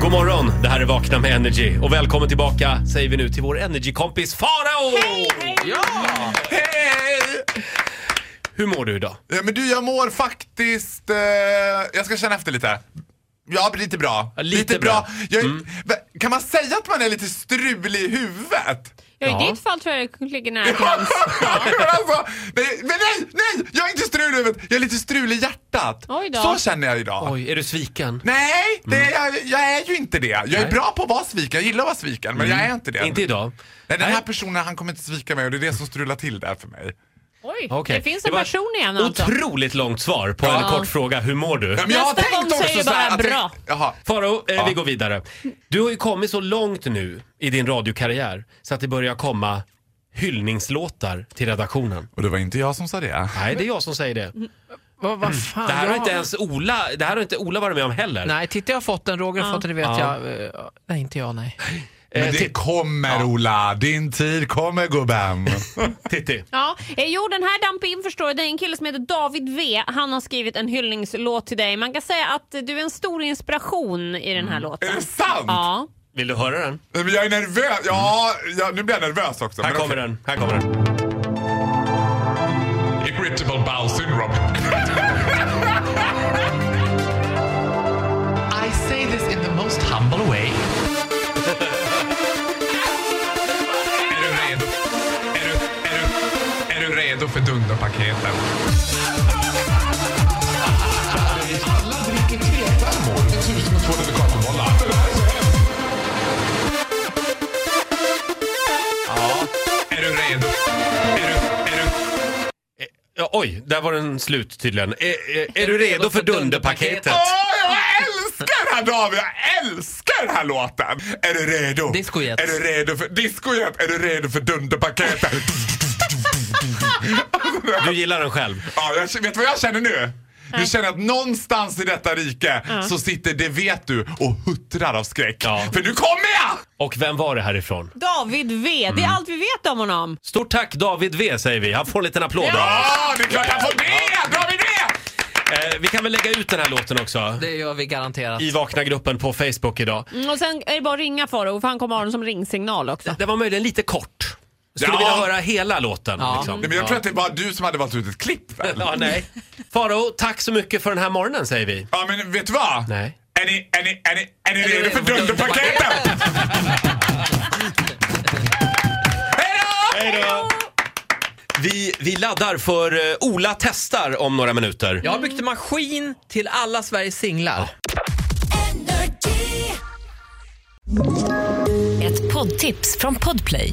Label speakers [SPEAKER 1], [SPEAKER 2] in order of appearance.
[SPEAKER 1] God morgon, det här är Vakna med Energy. Och välkommen tillbaka säger vi nu till vår Energy-kompis Farao! Hej, hej!
[SPEAKER 2] Ja!
[SPEAKER 3] Hej!
[SPEAKER 1] Hur mår du idag?
[SPEAKER 3] Ja, Men du, jag mår faktiskt... Eh, jag ska känna efter lite. Ja, men lite bra. Mm.
[SPEAKER 1] Ja, lite bra.
[SPEAKER 3] Jag, va- Kan man säga att man är lite strulig i huvudet?
[SPEAKER 4] Ja, i
[SPEAKER 1] Ja.
[SPEAKER 4] ditt fall tror jag det ligger nära till hands.
[SPEAKER 3] Men alltså, nej, men nej, nej! Jag är inte strulig i huvudet. Jag är lite strulig i hjärtat.
[SPEAKER 4] Oj då.
[SPEAKER 3] Så känner jag idag.
[SPEAKER 1] Oj, är du sviken?
[SPEAKER 3] Nej, det är, jag, jag är ju inte det. Jag är
[SPEAKER 1] Nej.
[SPEAKER 3] bra på att vara sviken. Jag gillar att vara sviken, men jag är Mm. inte det.
[SPEAKER 1] Inte idag.
[SPEAKER 3] Nej, den här
[SPEAKER 1] Nej.
[SPEAKER 3] personen han kommer inte svika mig och det är det som strular till det här för mig.
[SPEAKER 4] Oj,
[SPEAKER 1] Okej.
[SPEAKER 4] det finns en
[SPEAKER 1] var
[SPEAKER 4] person igen
[SPEAKER 1] ett
[SPEAKER 4] alltså.
[SPEAKER 1] Otroligt långt svar på en
[SPEAKER 3] Ja.
[SPEAKER 1] kort fråga. Hur mår du?
[SPEAKER 3] Ja, men jag har
[SPEAKER 4] Nästa
[SPEAKER 3] tänkt
[SPEAKER 4] gång
[SPEAKER 3] också
[SPEAKER 4] säger
[SPEAKER 3] så här
[SPEAKER 4] bara
[SPEAKER 3] att-
[SPEAKER 4] bra.
[SPEAKER 3] Jaha.
[SPEAKER 1] Faro, eh,
[SPEAKER 3] Ja.
[SPEAKER 1] vi går vidare. Du har ju kommit så långt nu i din radiokarriär så att det börjar komma hyllningslåtar till redaktionen.
[SPEAKER 3] Och det var inte jag som sa det.
[SPEAKER 1] Nej, det är jag som säger det.
[SPEAKER 2] Vad vad fan.
[SPEAKER 1] Det här har
[SPEAKER 2] jag-
[SPEAKER 1] inte ens Ola, det här har inte Ola varit med om heller.
[SPEAKER 2] Nej, titta jag har fått den, Roger har fått den, det vet
[SPEAKER 1] Ja.
[SPEAKER 2] jag. Eh, Nej, inte jag, nej.
[SPEAKER 1] Eh,
[SPEAKER 3] Men det
[SPEAKER 1] Titt-
[SPEAKER 3] kommer Ola, din tid kommer gubben.
[SPEAKER 1] Titti.
[SPEAKER 4] Ja, eh, jo den här damp in förstår jag. Det är en kille som heter David V. Han har skrivit en hyllningslåt till dig. Man kan säga att eh, du är en stor inspiration i den här låten.
[SPEAKER 3] Är det sant?
[SPEAKER 4] Ja.
[SPEAKER 1] Vill du höra den?
[SPEAKER 3] Nej, Men jag är nervös. Ja, ja, nu blir jag nervös också.
[SPEAKER 1] Här
[SPEAKER 3] men
[SPEAKER 1] kommer
[SPEAKER 3] okej.
[SPEAKER 1] den. Här kommer den.
[SPEAKER 3] Irritable bowel syndrome.
[SPEAKER 5] I say this in the most humble way.
[SPEAKER 3] Är du redo? Är du, är du, är du redo för dunderpaketen? Alla dricker tefärmor. 1200 kakaobollar. Ja. Är du redo? Är du, är du...
[SPEAKER 1] Ja, oj, där var den slut tydligen. Är, är, är du redo för Dunderpaketet?
[SPEAKER 3] Åh, jag älskar den här David! Jag älskar den här låten! Är du redo?
[SPEAKER 2] Discojet.
[SPEAKER 3] Är du redo för discojet? Är du redo för dunderpaketet?
[SPEAKER 1] Du gillar den själv.
[SPEAKER 3] ja, jag, vet du vad jag känner nu? Jag känner att någonstans i detta rike så sitter det vet du och huttrar av skräck.
[SPEAKER 1] Ja.
[SPEAKER 3] För nu kommer jag!
[SPEAKER 1] Och vem var det härifrån?
[SPEAKER 4] David V, det är allt vi vet om honom.
[SPEAKER 1] Stort tack David V säger vi. Han får en liten applåd.
[SPEAKER 4] Ja.
[SPEAKER 3] Ja, det är klart jag får det! Dra vi det!
[SPEAKER 1] Eh, vi kan väl lägga ut den här låten också
[SPEAKER 2] Det gör vi garanterat.
[SPEAKER 1] i Vakna-gruppen på Facebook idag.
[SPEAKER 4] Mm, och sen är det bara att ringa Farao för han kommer ha den som ringsignal också.
[SPEAKER 1] Det var möjligen lite kort. Skulle
[SPEAKER 3] Ja.
[SPEAKER 1] vilja höra hela låten.
[SPEAKER 2] Ja.
[SPEAKER 1] Liksom.
[SPEAKER 3] Nej, men jag tror att det var du som hade valt ut ett klipp väl?
[SPEAKER 1] Ja, nej. Faro, tack så mycket för den här morgonen säger vi.
[SPEAKER 3] Ja, men vet du vad?
[SPEAKER 1] Nej.
[SPEAKER 3] Är ni, är ni, är ni, är ni redo för dunderpaketet? Hej då!
[SPEAKER 1] Vi, vi laddar för eh, Ola testar om några minuter.
[SPEAKER 2] Jag har byggt en maskin till alla Sveriges singlar.
[SPEAKER 6] Ett poddtips från Podplay.